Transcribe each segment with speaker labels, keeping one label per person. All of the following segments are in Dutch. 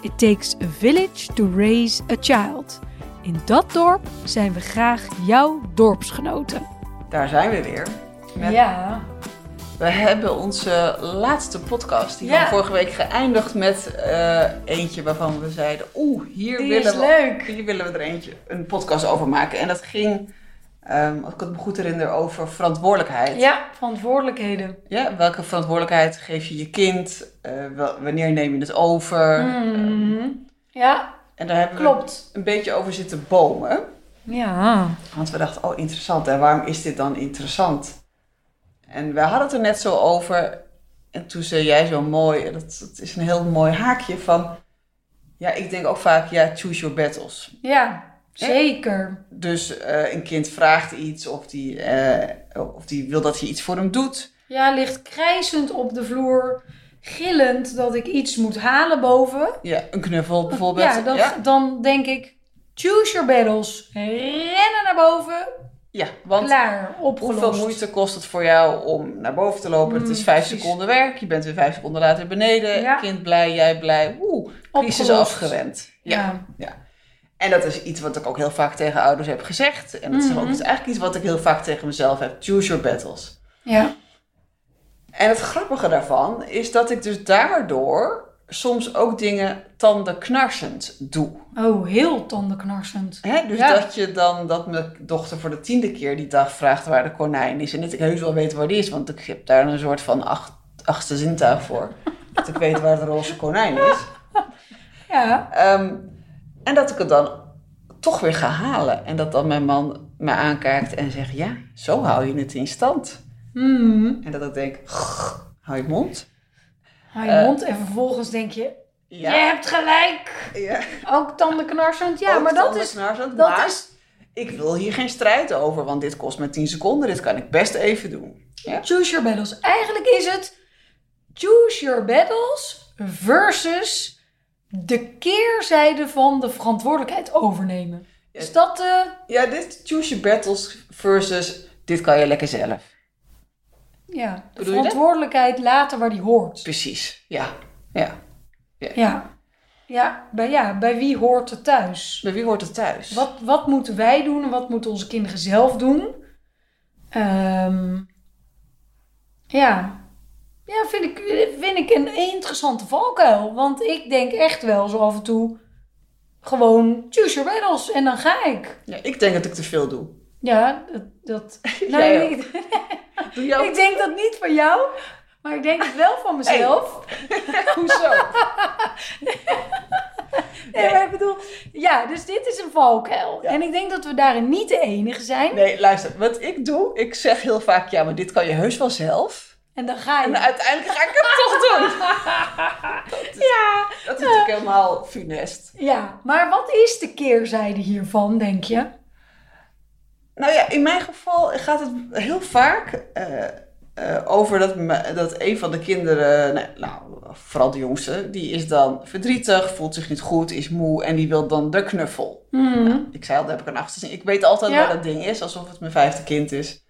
Speaker 1: It takes a village to raise a child. In dat dorp zijn we graag jouw dorpsgenoten.
Speaker 2: Daar zijn we weer. Met-
Speaker 3: Ja,
Speaker 2: We hebben onze laatste podcast, die
Speaker 3: Ja.
Speaker 2: van vorige week, geëindigd met eh, eentje waarvan we zeiden: Oeh, hier,
Speaker 3: die
Speaker 2: willen
Speaker 3: is
Speaker 2: we,
Speaker 3: leuk.
Speaker 2: hier willen we er eentje een podcast over maken. En dat ging, ehm, als ik het me goed herinner, over verantwoordelijkheid.
Speaker 3: Ja, verantwoordelijkheden.
Speaker 2: Ja, welke verantwoordelijkheid geef je je kind? Eh, wel- wanneer neem je het over?
Speaker 3: Mhm. Ja,
Speaker 2: En daar hebben
Speaker 3: klopt.
Speaker 2: we een beetje over zitten bomen.
Speaker 3: Ja.
Speaker 2: Want we dachten, oh interessant, en waarom is dit dan interessant? En we hadden het er net zo over. En toen zei jij zo mooi, en dat, dat is een heel mooi haakje van... Ja, ik denk ook vaak, ja, choose your battles.
Speaker 3: Ja, zeker.
Speaker 2: Dus eh, een kind vraagt iets of die, eh, of die wil dat je iets voor hem doet.
Speaker 3: Ja, ligt krijzend op de vloer, gillend dat ik iets moet halen boven.
Speaker 2: Ja, een knuffel bijvoorbeeld.
Speaker 3: Ja, dan, dan denk ik, choose your battles. Rennen naar boven,
Speaker 2: Ja, want
Speaker 3: klaar,
Speaker 2: hoeveel
Speaker 3: opgelost.
Speaker 2: moeite kost het voor jou om naar boven te lopen? het
Speaker 3: Mm,
Speaker 2: is vijf
Speaker 3: precies.
Speaker 2: seconden werk, je bent weer vijf seconden later beneden.
Speaker 3: Ja.
Speaker 2: Kind blij, jij blij. Oeh, crisis
Speaker 3: Opgelost.
Speaker 2: afgewend. Ja.
Speaker 3: Ja.
Speaker 2: En dat is iets wat ik ook heel vaak tegen ouders heb gezegd. En dat is
Speaker 3: Mhm.
Speaker 2: ook eigenlijk iets wat ik heel vaak tegen mezelf heb. Choose your battles.
Speaker 3: Ja.
Speaker 2: En het grappige daarvan is dat ik dus daardoor soms ook dingen tandenknarsend doe.
Speaker 3: Oh, heel tandenknarsend.
Speaker 2: Hè? Dus
Speaker 3: Ja.
Speaker 2: dat je dan, dat mijn dochter voor de tiende keer die dag vraagt waar de konijn is. En dat ik heus wel weet waar die is, want ik heb daar een soort van acht, achtste zintuig voor. dat ik weet waar de roze konijn is.
Speaker 3: Ja.
Speaker 2: Ehm, en dat ik het dan toch weer ga halen. En dat dan mijn man me aankijkt en zegt: Ja, zo hou je het in stand.
Speaker 3: Mm.
Speaker 2: En dat ik denk: "Grrr, Hou je mond.
Speaker 3: Hou je
Speaker 2: Eh.
Speaker 3: mond en vervolgens denk je, je
Speaker 2: Ja.
Speaker 3: hebt gelijk.
Speaker 2: ja.
Speaker 3: Ook tandenknarsend, ja,
Speaker 2: Ook
Speaker 3: maar dat is...
Speaker 2: tandenknarsend,
Speaker 3: dat
Speaker 2: maar
Speaker 3: is-
Speaker 2: Ik wil hier geen strijd over, want dit kost me 10 seconden. Dit kan ik best even doen.
Speaker 3: Choose your battles. Eigenlijk is het choose your battles versus de keerzijde van de verantwoordelijkheid overnemen.
Speaker 2: Ja.
Speaker 3: Is dat eh, de...
Speaker 2: Ja, dit choose your battles versus dit kan je lekker zelf.
Speaker 3: Ja, de
Speaker 2: Bedoel je dat?
Speaker 3: verantwoordelijkheid laten waar die hoort.
Speaker 2: Precies, ja. ja.
Speaker 3: Ja. Ja bij, ja, bij wie hoort het thuis?
Speaker 2: Bij wie hoort het thuis?
Speaker 3: Wat, wat moeten wij doen en wat moeten onze kinderen zelf doen? Ehm, ja. Ja, vind ik, vind ik een interessante valkuil. Want ik denk echt wel zo af en toe gewoon choose your battles en dan ga ik.
Speaker 2: Ja, ik denk dat ik te veel doe.
Speaker 3: Ja, dat... dat nou,
Speaker 2: Jij
Speaker 3: ik,
Speaker 2: Doe jou
Speaker 3: ik denk dat niet van jou, maar ik denk het wel van mezelf.
Speaker 2: hoezo?
Speaker 3: Nee, maar ik bedoel, ja, dus dit is een valkuil.
Speaker 2: Ja.
Speaker 3: En ik denk dat we daarin niet de enige zijn.
Speaker 2: Nee, luister. Wat ik doe, ik zeg heel vaak, ja, maar dit kan je heus wel zelf.
Speaker 3: En dan ga je.
Speaker 2: En uiteindelijk ga ik het toch doen. Dat is,
Speaker 3: Ja,
Speaker 2: dat is natuurlijk helemaal funest.
Speaker 3: ja, maar wat is de keerzijde hiervan, denk je?
Speaker 2: Nou ja, in mijn geval gaat het heel vaak eh, eh, over dat, me- dat een van de kinderen, nee, nou, vooral de jongste, die is dan verdrietig, voelt zich niet goed, is moe en die wil dan de knuffel.
Speaker 3: Hmm.
Speaker 2: Ik zei al, daar heb ik een achterzin. Ik weet altijd
Speaker 3: Ja.
Speaker 2: waar dat ding is, alsof het mijn vijfde kind is.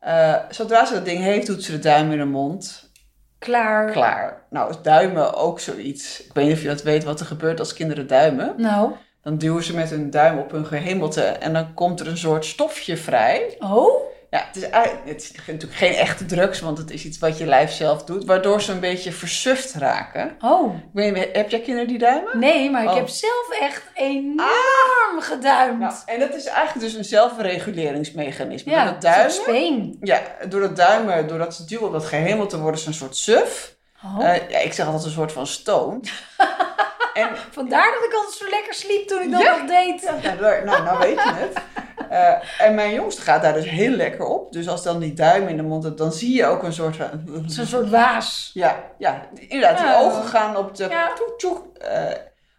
Speaker 2: Eh, zodra ze dat ding heeft, doet ze de duim in de mond.
Speaker 3: Klaar.
Speaker 2: Klaar. Nou, is duimen ook zoiets. Ik weet niet of je dat weet wat er gebeurt als kinderen duimen.
Speaker 3: Nou,
Speaker 2: Dan duwen ze met hun duim op hun gehemelte en dan komt er een soort stofje vrij.
Speaker 3: oh,
Speaker 2: Ja, het is, eigenlijk- het is natuurlijk geen echte drugs, want het is iets wat je lijf zelf doet, waardoor ze een beetje versuft raken.
Speaker 3: oh.
Speaker 2: Ik weet niet, heb jij kinderen die duimen?
Speaker 3: Nee, maar ik
Speaker 2: Oh.
Speaker 3: heb zelf echt enorm geduimd.
Speaker 2: Nou, en dat is eigenlijk dus een zelfreguleringsmechanisme.
Speaker 3: ja,
Speaker 2: Door dat duimen,
Speaker 3: een soort speen.
Speaker 2: Ja, door dat duimen, doordat ze duwen op dat gehemelte, worden ze een soort suf.
Speaker 3: Oh.
Speaker 2: Eh, ja, ik zeg altijd een soort van stoom. en
Speaker 3: Vandaar dat ik altijd zo lekker sliep toen ik dat
Speaker 2: Ja.
Speaker 3: nog deed.
Speaker 2: ja, nou, nou weet je het. Eh, en mijn jongste gaat daar dus heel lekker op. Dus als dan die duim in de mond hebt, dan zie je ook een soort van...
Speaker 3: Zo'n soort waas.
Speaker 2: Ja, ja inderdaad, die
Speaker 3: Ja.
Speaker 2: ogen gaan op de...
Speaker 3: Ja.
Speaker 2: tjoek, tjoek, eh,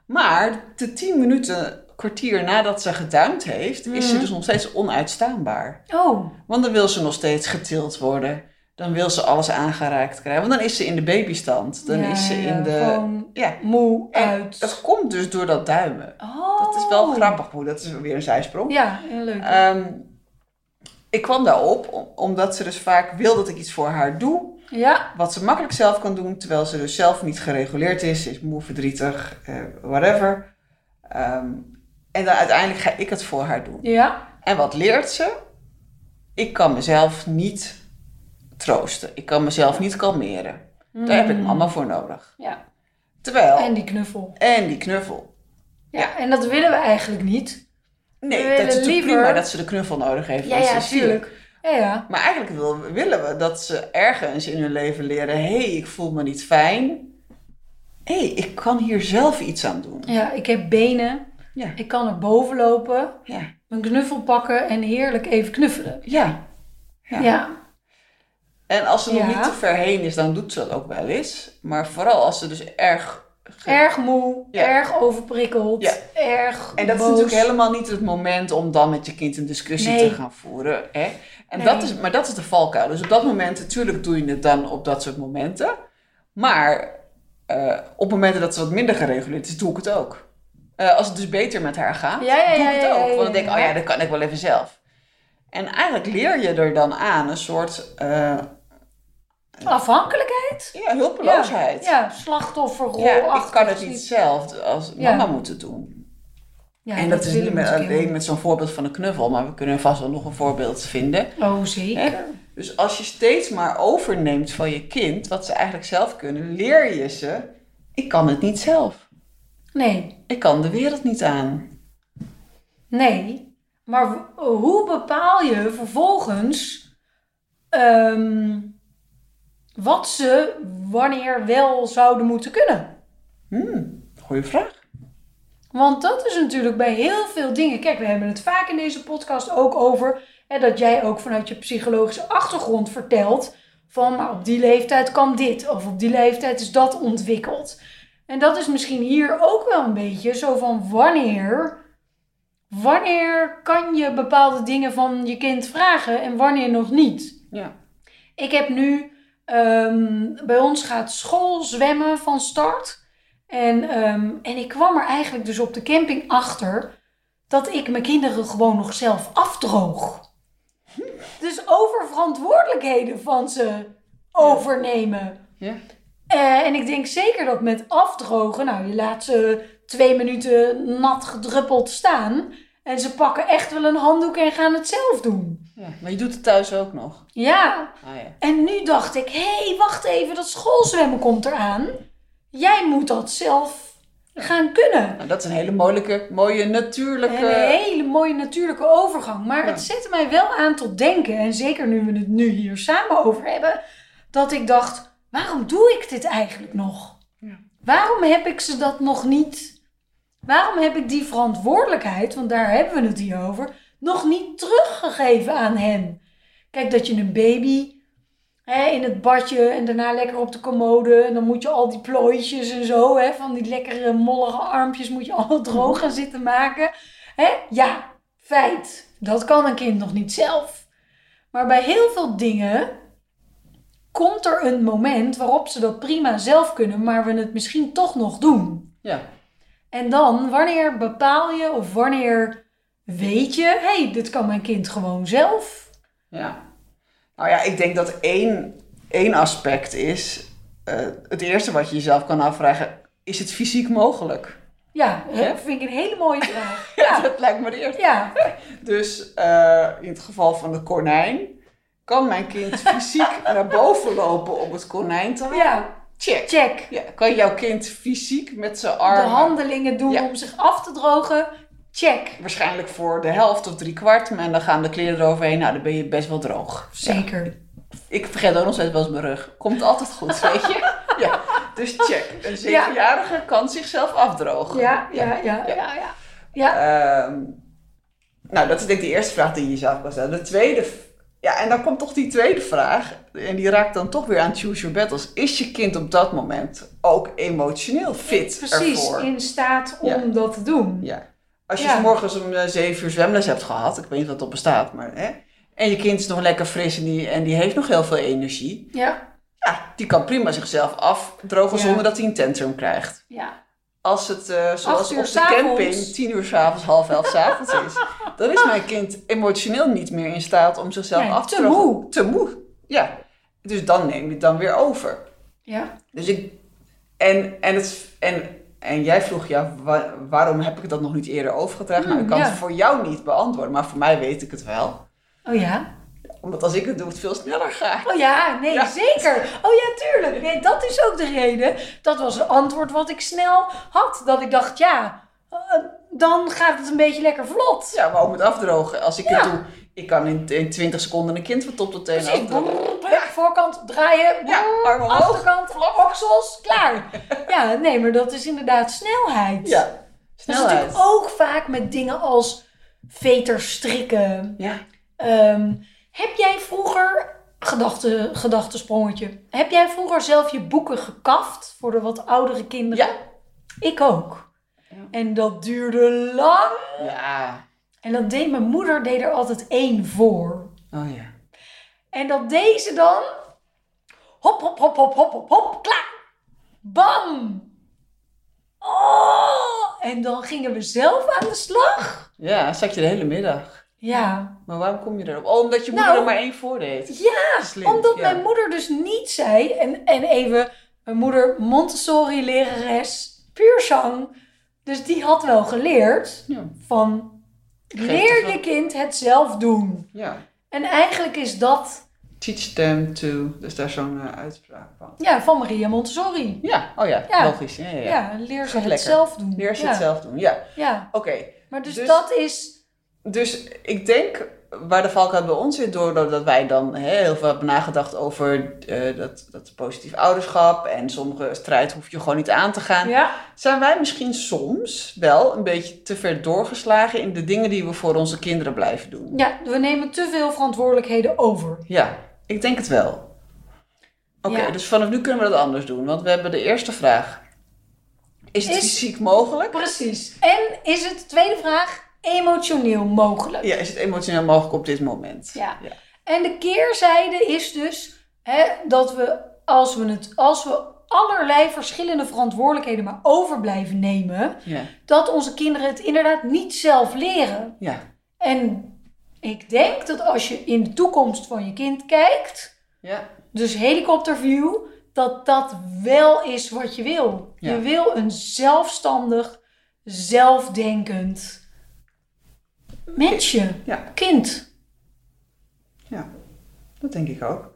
Speaker 2: Maar de tien minuten, kwartier nadat ze geduimd heeft, is
Speaker 3: Mm.
Speaker 2: ze dus nog steeds onuitstaanbaar.
Speaker 3: Oh,
Speaker 2: Want dan wil ze nog steeds getild worden. Dan wil ze alles aangeraakt krijgen. Want dan is ze in de babystand. Dan
Speaker 3: ja,
Speaker 2: is ze
Speaker 3: ja,
Speaker 2: in de...
Speaker 3: Gewoon
Speaker 2: Ja,
Speaker 3: moe
Speaker 2: en
Speaker 3: uit.
Speaker 2: dat komt dus door dat duimen.
Speaker 3: oh.
Speaker 2: Dat is wel grappig, hoe dat is weer een zijsprong.
Speaker 3: Ja, heel leuk.
Speaker 2: Ehm, ik kwam daarop om- omdat ze dus vaak wil dat ik iets voor haar doe.
Speaker 3: ja,
Speaker 2: Wat ze makkelijk zelf kan doen, terwijl ze dus zelf niet gereguleerd is. Is moe, verdrietig, eh, whatever. Ehm, en dan uiteindelijk ga ik het voor haar doen.
Speaker 3: ja.
Speaker 2: En wat leert ze? Ik kan mezelf niet troosten. Ik kan mezelf niet kalmeren. Daar heb ik mama voor nodig.
Speaker 3: Ja,
Speaker 2: Terwijl, en,
Speaker 3: Hmm. en die knuffel.
Speaker 2: die knuffel.
Speaker 3: Ja, en dat willen we eigenlijk niet. We
Speaker 2: Nee, dat is
Speaker 3: willen
Speaker 2: natuurlijk
Speaker 3: liever-
Speaker 2: prima dat ze de knuffel nodig heeft.
Speaker 3: Ja,
Speaker 2: want ze
Speaker 3: ja,
Speaker 2: is zielig.
Speaker 3: tuurlijk. Ja, ja.
Speaker 2: Maar eigenlijk wil- willen we dat ze ergens in hun leven leren... hé, hey, ik voel me niet fijn. Hé, hey, ik kan hier zelf iets aan doen.
Speaker 3: Ja, ik heb benen.
Speaker 2: Ja.
Speaker 3: Ik kan er boven lopen,
Speaker 2: Ja,
Speaker 3: mijn knuffel pakken en heerlijk even knuffelen.
Speaker 2: ja.
Speaker 3: Ja,
Speaker 2: Ja.
Speaker 3: ja.
Speaker 2: En als ze nog
Speaker 3: Ja.
Speaker 2: niet te ver heen is, dan doet ze dat ook wel eens. Maar vooral als ze dus erg... ge-
Speaker 3: erg moe,
Speaker 2: Ja.
Speaker 3: erg overprikkeld,
Speaker 2: Ja.
Speaker 3: erg
Speaker 2: En dat is
Speaker 3: boos.
Speaker 2: natuurlijk helemaal niet het moment om dan met je kind een discussie
Speaker 3: Nee.
Speaker 2: te gaan voeren. Hè? En
Speaker 3: Nee.
Speaker 2: dat is, maar dat is de valkuil. Dus op dat moment, natuurlijk doe je het dan op dat soort momenten. Maar eh, op momenten dat ze wat minder gereguleerd is, doe ik het ook. Eh, als het dus beter met haar gaat,
Speaker 3: Ja, ja,
Speaker 2: doe
Speaker 3: ja,
Speaker 2: ik het
Speaker 3: ja,
Speaker 2: ook.
Speaker 3: ja,
Speaker 2: Want
Speaker 3: ja,
Speaker 2: dan denk ik,
Speaker 3: ja.
Speaker 2: oh ja, dat kan ik wel even zelf. En eigenlijk leer je er dan aan een soort eh,
Speaker 3: Afhankelijkheid.
Speaker 2: ja, hulpeloosheid.
Speaker 3: Ja, ja, slachtofferrol.
Speaker 2: Ja, ik kan het
Speaker 3: achtig
Speaker 2: niet
Speaker 3: iets.
Speaker 2: zelf als
Speaker 3: Ja.
Speaker 2: mama moet het doen.
Speaker 3: Ja,
Speaker 2: en dat, is
Speaker 3: willen
Speaker 2: niet
Speaker 3: we dus
Speaker 2: met,
Speaker 3: natuurlijk
Speaker 2: alleen met zo'n voorbeeld van een knuffel, maar we kunnen vast wel nog een voorbeeld vinden.
Speaker 3: helemaal niet. Oh, zeker.
Speaker 2: Hè? Dus als je steeds maar overneemt van je kind wat ze eigenlijk zelf kunnen, leer je ze: ik kan het niet zelf.
Speaker 3: Nee,
Speaker 2: Ik kan de wereld niet aan.
Speaker 3: nee. Maar w- hoe bepaal je vervolgens ehm, wat ze wanneer wel zouden moeten kunnen?
Speaker 2: Hmm, goeie vraag.
Speaker 3: Want dat is natuurlijk bij heel veel dingen. Kijk, we hebben het vaak in deze podcast ook over. Hè, dat jij ook vanuit je psychologische achtergrond vertelt. Van maar op die leeftijd kan dit. Of op die leeftijd is dat ontwikkeld. En dat is misschien hier ook wel een beetje zo van wanneer. Wanneer kan je bepaalde dingen van je kind vragen en wanneer nog niet?
Speaker 2: Ja.
Speaker 3: Ik heb nu, ehm, bij ons gaat school zwemmen van start. En, ehm, en ik kwam er eigenlijk dus op de camping achter dat ik mijn kinderen gewoon nog zelf afdroog. Dus over verantwoordelijkheden van ze overnemen.
Speaker 2: Ja.
Speaker 3: Eh, en ik denk zeker dat met afdrogen, nou je laat ze twee minuten nat gedruppeld staan. En ze pakken echt wel een handdoek en gaan het zelf doen.
Speaker 2: ja. Maar je doet het thuis ook nog.
Speaker 3: Ja,
Speaker 2: Ah ja.
Speaker 3: en nu dacht ik, hé, hey, wacht even, dat schoolzwemmen komt eraan. Jij moet dat zelf gaan kunnen.
Speaker 2: Nou, dat is een hele moeilijke, mooie, natuurlijke.
Speaker 3: Een hele mooie natuurlijke overgang. Maar
Speaker 2: eh, Ja.
Speaker 3: het zette mij wel aan tot denken. En zeker nu we het nu hier samen over hebben. Dat ik dacht, waarom doe ik dit eigenlijk nog?
Speaker 2: Ja.
Speaker 3: Waarom heb ik ze dat nog niet... Waarom heb ik die verantwoordelijkheid, want daar hebben we het hier over... nog niet teruggegeven aan hen? Kijk, dat je een baby hè, in het badje en daarna lekker op de commode... en dan moet je al die plooitjes en zo... Hè, van die lekkere mollige armpjes moet je allemaal droog gaan zitten maken... Hè? Ja, feit. Dat kan een kind nog niet zelf. Maar bij heel veel dingen komt er een moment waarop ze dat prima zelf kunnen, maar we het misschien toch nog doen.
Speaker 2: Ja.
Speaker 3: En dan, wanneer bepaal je of wanneer weet je, hé, hey, dit kan mijn kind gewoon zelf?
Speaker 2: Ja. Nou ja, ik denk dat één, één aspect is. eh, het eerste wat je jezelf kan afvragen: is het fysiek mogelijk?
Speaker 3: Ja, hè,
Speaker 2: Ja.
Speaker 3: vind ik een hele mooie vraag.
Speaker 2: Ja,
Speaker 3: Ja,
Speaker 2: dat lijkt me de eerste.
Speaker 3: ja.
Speaker 2: Dus eh, in het geval van de konijn, kan mijn kind fysiek naar boven lopen om het konijn te halen?
Speaker 3: ja.
Speaker 2: Check.
Speaker 3: check.
Speaker 2: Ja, kan jouw kind fysiek met zijn
Speaker 3: De
Speaker 2: armen,
Speaker 3: handelingen doen
Speaker 2: Ja.
Speaker 3: om zich af te drogen, check.
Speaker 2: waarschijnlijk voor de helft of drie kwart, maar dan gaan de kleren eroverheen, nou dan ben je best wel droog. Ja.
Speaker 3: Zeker.
Speaker 2: Ik vergeet ook nog steeds wel eens mijn rug. Komt altijd goed, weet je? Ja. Dus check. Een zevenjarige kan zichzelf afdrogen.
Speaker 3: Ja, ja, ja, ja, ja. ja.
Speaker 2: Ehm, nou, dat is denk ik de eerste vraag die je jezelf kan stellen. De tweede v- Ja, en dan komt toch die tweede vraag. En die raakt dan toch weer aan Choose Your Battles. Is je kind op dat moment ook emotioneel fit
Speaker 3: Precies,
Speaker 2: ervoor?
Speaker 3: in staat om
Speaker 2: Ja.
Speaker 3: dat te doen.
Speaker 2: Ja. Als je
Speaker 3: Ja.
Speaker 2: s morgens om eh, zeven uur zwemles hebt gehad, ik weet niet of dat bestaat, maar hè. En je kind is nog lekker fris en die, en die heeft nog heel veel energie.
Speaker 3: Ja.
Speaker 2: Ja, die kan prima zichzelf afdrogen
Speaker 3: Ja.
Speaker 2: zonder dat hij een tantrum krijgt.
Speaker 3: ja.
Speaker 2: Als het, eh,
Speaker 3: Acht
Speaker 2: zoals
Speaker 3: uur
Speaker 2: op de
Speaker 3: s'avonds.
Speaker 2: camping, tien uur s'avonds, half elf s'avonds is, dan is mijn kind emotioneel niet meer in staat om zichzelf
Speaker 3: Nee,
Speaker 2: af te
Speaker 3: te
Speaker 2: drogen.
Speaker 3: moe.
Speaker 2: Te moe. Ja. Dus dan neem je het dan weer over.
Speaker 3: Ja.
Speaker 2: Dus ik. En, en, het, en, en jij vroeg ja, wa- waarom heb ik dat nog niet eerder overgedragen? nou,
Speaker 3: Mm,
Speaker 2: ik kan
Speaker 3: ja.
Speaker 2: het voor jou niet beantwoorden, maar voor mij weet ik het wel.
Speaker 3: Oh ja?
Speaker 2: Omdat als ik het doe, het veel sneller gaat.
Speaker 3: Oh ja, nee,
Speaker 2: Ja.
Speaker 3: zeker. Oh ja, tuurlijk. Nee, dat is ook de reden. Dat was een antwoord wat ik snel had. Dat ik dacht, ja, eh, dan gaat het een beetje lekker vlot.
Speaker 2: Ja, maar ook met afdrogen. Als ik
Speaker 3: Ja.
Speaker 2: het doe, ik kan in, in 20 seconden een kind van top tot teen
Speaker 3: Precies.
Speaker 2: afdrogen.
Speaker 3: Brrr, brrr, Voorkant draaien,
Speaker 2: Ja,
Speaker 3: brrr,
Speaker 2: arm omhoog.
Speaker 3: achterkant, oksels, klaar. Ja, nee, maar dat is inderdaad snelheid.
Speaker 2: Ja,
Speaker 3: Dus Dat is natuurlijk
Speaker 2: snelheid.
Speaker 3: ook vaak met dingen als veters strikken.
Speaker 2: Ja.
Speaker 3: Ehm, heb jij vroeger, gedachte, gedachtesprongetje, heb jij vroeger zelf je boeken gekaft voor de wat oudere kinderen?
Speaker 2: Ja.
Speaker 3: Ik ook.
Speaker 2: Ja.
Speaker 3: En dat duurde lang.
Speaker 2: Ja.
Speaker 3: En dat deed mijn moeder, deed er altijd één voor.
Speaker 2: Oh ja.
Speaker 3: En dat deze dan, hop, hop, hop, hop, hop, hop, hop, klaar. Bam. Oh. En dan gingen we zelf aan de slag.
Speaker 2: Ja, zat je de hele middag.
Speaker 3: Ja,
Speaker 2: Maar waarom kom je erop? Oh, omdat je
Speaker 3: Nou.
Speaker 2: moeder er maar één voordeed.
Speaker 3: Ja,
Speaker 2: Slim,
Speaker 3: omdat
Speaker 2: ja.
Speaker 3: mijn moeder dus niet zei, en, en even, mijn moeder Montessori-lerares, puur zang. Dus die had wel geleerd
Speaker 2: Ja.
Speaker 3: van, leer
Speaker 2: ervan.
Speaker 3: je kind het zelf doen.
Speaker 2: ja.
Speaker 3: En eigenlijk is dat,
Speaker 2: Teach them to. Dus daar is zo'n eh, uitspraak van.
Speaker 3: ja, van Maria Montessori.
Speaker 2: Ja, oh ja,
Speaker 3: Ja.
Speaker 2: logisch. Ja, ja, ja.
Speaker 3: Ja, leer ze
Speaker 2: Gaat
Speaker 3: het
Speaker 2: lekker.
Speaker 3: zelf doen.
Speaker 2: Leer ze
Speaker 3: ja.
Speaker 2: het zelf doen. Ja,
Speaker 3: Ja,
Speaker 2: oké.
Speaker 3: maar dus,
Speaker 2: Dus-
Speaker 3: dat is,
Speaker 2: Dus ik denk waar de valkuil bij ons zit, doordat wij dan hè, heel veel hebben nagedacht over eh, dat, dat positief ouderschap en sommige strijd hoef je gewoon niet aan te gaan.
Speaker 3: ja,
Speaker 2: Zijn wij misschien soms wel een beetje te ver doorgeslagen in de dingen die we voor onze kinderen blijven doen?
Speaker 3: ja, we nemen te veel verantwoordelijkheden over.
Speaker 2: Ja, ik denk het wel. Oké,
Speaker 3: Ja.
Speaker 2: dus vanaf nu kunnen we dat anders doen, want we hebben de eerste vraag. Is het
Speaker 3: Is-
Speaker 2: fysiek mogelijk?
Speaker 3: Precies. En is het, tweede vraag, emotioneel mogelijk?
Speaker 2: Ja, is het emotioneel mogelijk op dit moment?
Speaker 3: Ja.
Speaker 2: ja.
Speaker 3: En de keerzijde is dus hè, dat we als we, het, als we allerlei verschillende verantwoordelijkheden maar over blijven nemen,
Speaker 2: ja.
Speaker 3: dat onze kinderen het inderdaad niet zelf leren.
Speaker 2: ja.
Speaker 3: En ik denk dat als je in de toekomst van je kind kijkt,
Speaker 2: ja.
Speaker 3: dus helikopterview, dat dat wel is wat je wil.
Speaker 2: Ja.
Speaker 3: Je wil een zelfstandig, zelfdenkend mensje,
Speaker 2: Ja.
Speaker 3: kind.
Speaker 2: Ja, dat denk ik ook.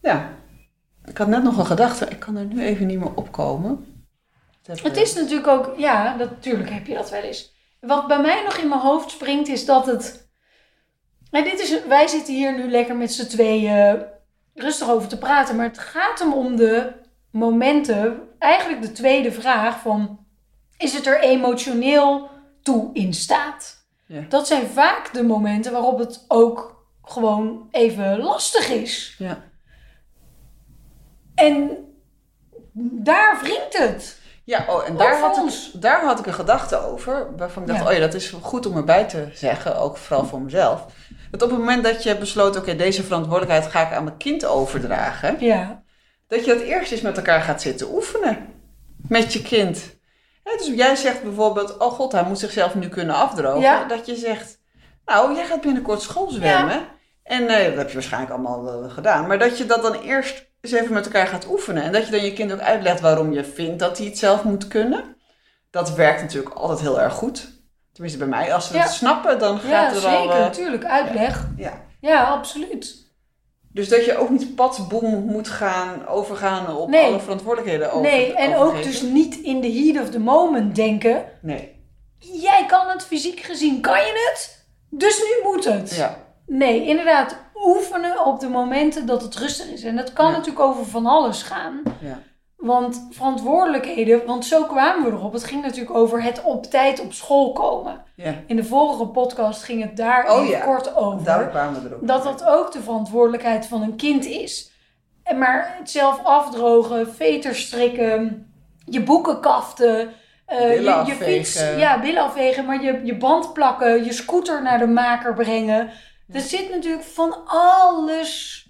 Speaker 2: Ja, ik had net nog een gedachte. Ik kan er nu even niet meer opkomen. Dat heb
Speaker 3: Het
Speaker 2: ik-
Speaker 3: is natuurlijk ook, ja, dat- natuurlijk heb je dat wel eens. Wat bij mij nog in mijn hoofd springt is dat het. En dit is, wij zitten hier nu lekker met z'n tweeën rustig over te praten, maar het gaat hem om de momenten. Eigenlijk de tweede vraag van: is het er emotioneel toe in staat?
Speaker 2: Ja.
Speaker 3: Dat zijn vaak de momenten waarop het ook gewoon even lastig is.
Speaker 2: Ja.
Speaker 3: En daar wringt het.
Speaker 2: Ja, oh, en daar
Speaker 3: voor
Speaker 2: had,
Speaker 3: ons.
Speaker 2: ik, daar had ik een gedachte over. Waarvan ik dacht,
Speaker 3: Ja.
Speaker 2: oh ja, dat is goed om erbij te zeggen. Ook vooral voor mezelf. Dat op het moment dat je besloot, oké, deze verantwoordelijkheid ga ik aan mijn kind overdragen.
Speaker 3: Ja,
Speaker 2: Dat je dat eerst eens met elkaar gaat zitten oefenen. Met je kind. Hè, dus jij zegt bijvoorbeeld, oh god, hij moet zichzelf nu kunnen afdrogen.
Speaker 3: Ja.
Speaker 2: Dat je zegt, nou, jij gaat binnenkort school zwemmen. En eh, dat heb je waarschijnlijk allemaal eh, gedaan. Maar dat je dat dan eerst eens even met elkaar gaat oefenen. En dat je dan je kind ook uitlegt waarom je vindt dat hij het zelf moet kunnen. Dat werkt natuurlijk altijd heel erg goed. Tenminste bij mij. Als ze
Speaker 3: Ja.
Speaker 2: het snappen, dan
Speaker 3: ja
Speaker 2: gaat er al...
Speaker 3: zeker,
Speaker 2: eh,
Speaker 3: natuurlijk. Uitleg.
Speaker 2: ja.
Speaker 3: Ja, absoluut.
Speaker 2: Dus dat je ook niet padboem moet gaan overgaan op
Speaker 3: Nee.
Speaker 2: alle verantwoordelijkheden. Over,
Speaker 3: nee, en ook
Speaker 2: overgeven.
Speaker 3: dus niet in the heat of the moment denken.
Speaker 2: Nee,
Speaker 3: Jij kan het fysiek gezien, kan je het? Dus nu moet het.
Speaker 2: ja.
Speaker 3: Nee, inderdaad, oefenen op de momenten dat het rustig is. En dat kan
Speaker 2: Ja.
Speaker 3: natuurlijk over van alles gaan.
Speaker 2: ja.
Speaker 3: Want verantwoordelijkheden, want zo kwamen we erop. Het ging natuurlijk over het op tijd op school komen.
Speaker 2: Ja,
Speaker 3: In de vorige podcast ging het daar
Speaker 2: Oh
Speaker 3: even
Speaker 2: ja,
Speaker 3: kort over.
Speaker 2: daar kwamen we erop.
Speaker 3: Dat dat ook de verantwoordelijkheid van een kind is. En Maar het zelf afdrogen, veters strikken, je boeken kaften, eh,
Speaker 2: Billen
Speaker 3: je, je
Speaker 2: afvegen.
Speaker 3: fiets, ja, billen afvegen, maar je, je band plakken, je scooter naar de maker brengen. Er zit natuurlijk van alles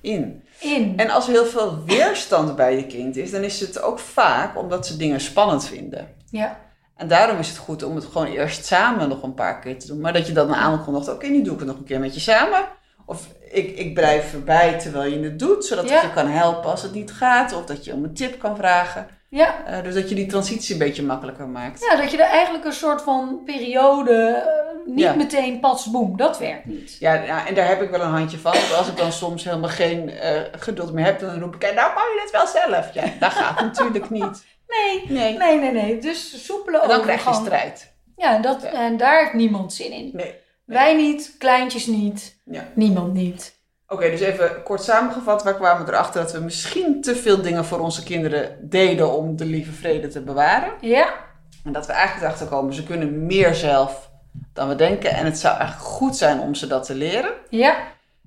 Speaker 2: in.
Speaker 3: in.
Speaker 2: En als er heel veel weerstand bij je kind is, dan is het ook vaak omdat ze dingen spannend vinden.
Speaker 3: ja.
Speaker 2: En daarom is het goed om het gewoon eerst samen nog een paar keer te doen. Maar dat je dan aankondigt, oké, nu doe ik het nog een keer met je samen. Of ik, ik blijf voorbij terwijl je het doet, zodat
Speaker 3: Ja.
Speaker 2: ik je kan helpen als het niet gaat. Of dat je om een tip kan vragen.
Speaker 3: Ja.
Speaker 2: Eh, dus dat je die transitie een beetje makkelijker maakt.
Speaker 3: ja, dat je er eigenlijk een soort van periode eh, niet
Speaker 2: Ja.
Speaker 3: meteen pas boem, dat werkt niet.
Speaker 2: Ja, ja, en daar heb ik wel een handje van. Want als ik dan soms helemaal geen eh, geduld meer heb, dan roep ik, nou kan je dit wel zelf. Ja, dat gaat natuurlijk niet.
Speaker 3: Nee,
Speaker 2: Nee.
Speaker 3: nee, nee, nee. Dus soepele
Speaker 2: En dan
Speaker 3: overgang.
Speaker 2: krijg je strijd.
Speaker 3: Ja, en, dat, en daar heeft niemand zin in.
Speaker 2: Nee.
Speaker 3: Wij niet, kleintjes niet,
Speaker 2: Ja.
Speaker 3: niemand niet.
Speaker 2: Oké, dus even kort samengevat. Waar kwamen we erachter dat we misschien te veel dingen voor onze kinderen deden om de lieve vrede te bewaren?
Speaker 3: Ja,
Speaker 2: En dat we eigenlijk erachter komen, ze kunnen meer zelf dan we denken. En het zou eigenlijk goed zijn om ze dat te leren.
Speaker 3: ja,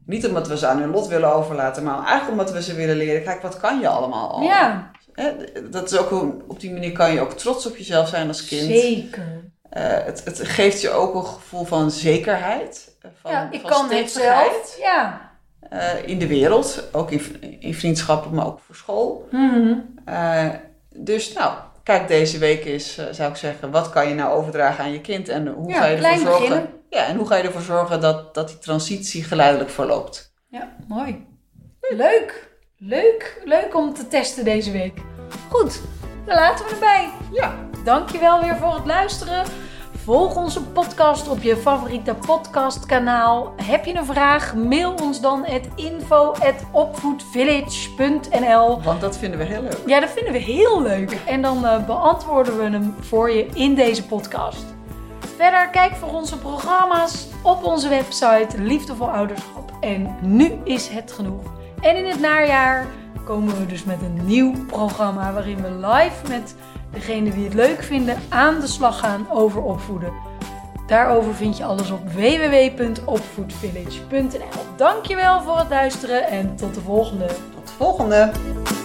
Speaker 2: Niet omdat we ze aan hun lot willen overlaten, maar eigenlijk omdat we ze willen leren. Kijk, wat kan je allemaal al?
Speaker 3: ja,
Speaker 2: Hè, dat is ook een- op die manier kan je ook trots op jezelf zijn als kind.
Speaker 3: zeker.
Speaker 2: Eh, het, het geeft je ook een gevoel van zekerheid. eh, Van,
Speaker 3: ja, ik
Speaker 2: van
Speaker 3: kan het
Speaker 2: stevigheid,
Speaker 3: zelf. Ja.
Speaker 2: eh, in de wereld, ook in, in vriendschappen, maar ook voor school.
Speaker 3: Mhm.
Speaker 2: Eh, dus nou, kijk deze week eens, eh, zou ik zeggen, wat kan je nou overdragen aan je kind en hoe
Speaker 3: Ja,
Speaker 2: ga je ervoor
Speaker 3: klein
Speaker 2: zorgen?
Speaker 3: beginnen.
Speaker 2: Ja, en hoe ga je ervoor zorgen dat, dat die transitie geleidelijk verloopt?
Speaker 3: Ja, mooi. Leuk, leuk, leuk om te testen deze week. Goed, dan laten we erbij.
Speaker 2: Ja,
Speaker 3: Dankjewel weer voor het luisteren. Volg onze podcast op je favoriete podcastkanaal. Heb je een vraag? Mail ons dan at info@opvoedvillage.nl.
Speaker 2: want dat vinden we heel leuk.
Speaker 3: Ja, dat vinden we heel leuk. En dan eh, beantwoorden we hem voor je in deze podcast. Verder kijk voor onze programma's op onze website Liefdevol Ouderschap. En nu is het genoeg. En in het najaar komen we dus met een nieuw programma waarin we live met degene die het leuk vinden aan de slag gaan over opvoeden. Daarover vind je alles op www.opvoedvillage.nl. Dankjewel voor het luisteren en tot de volgende.
Speaker 2: Tot de volgende!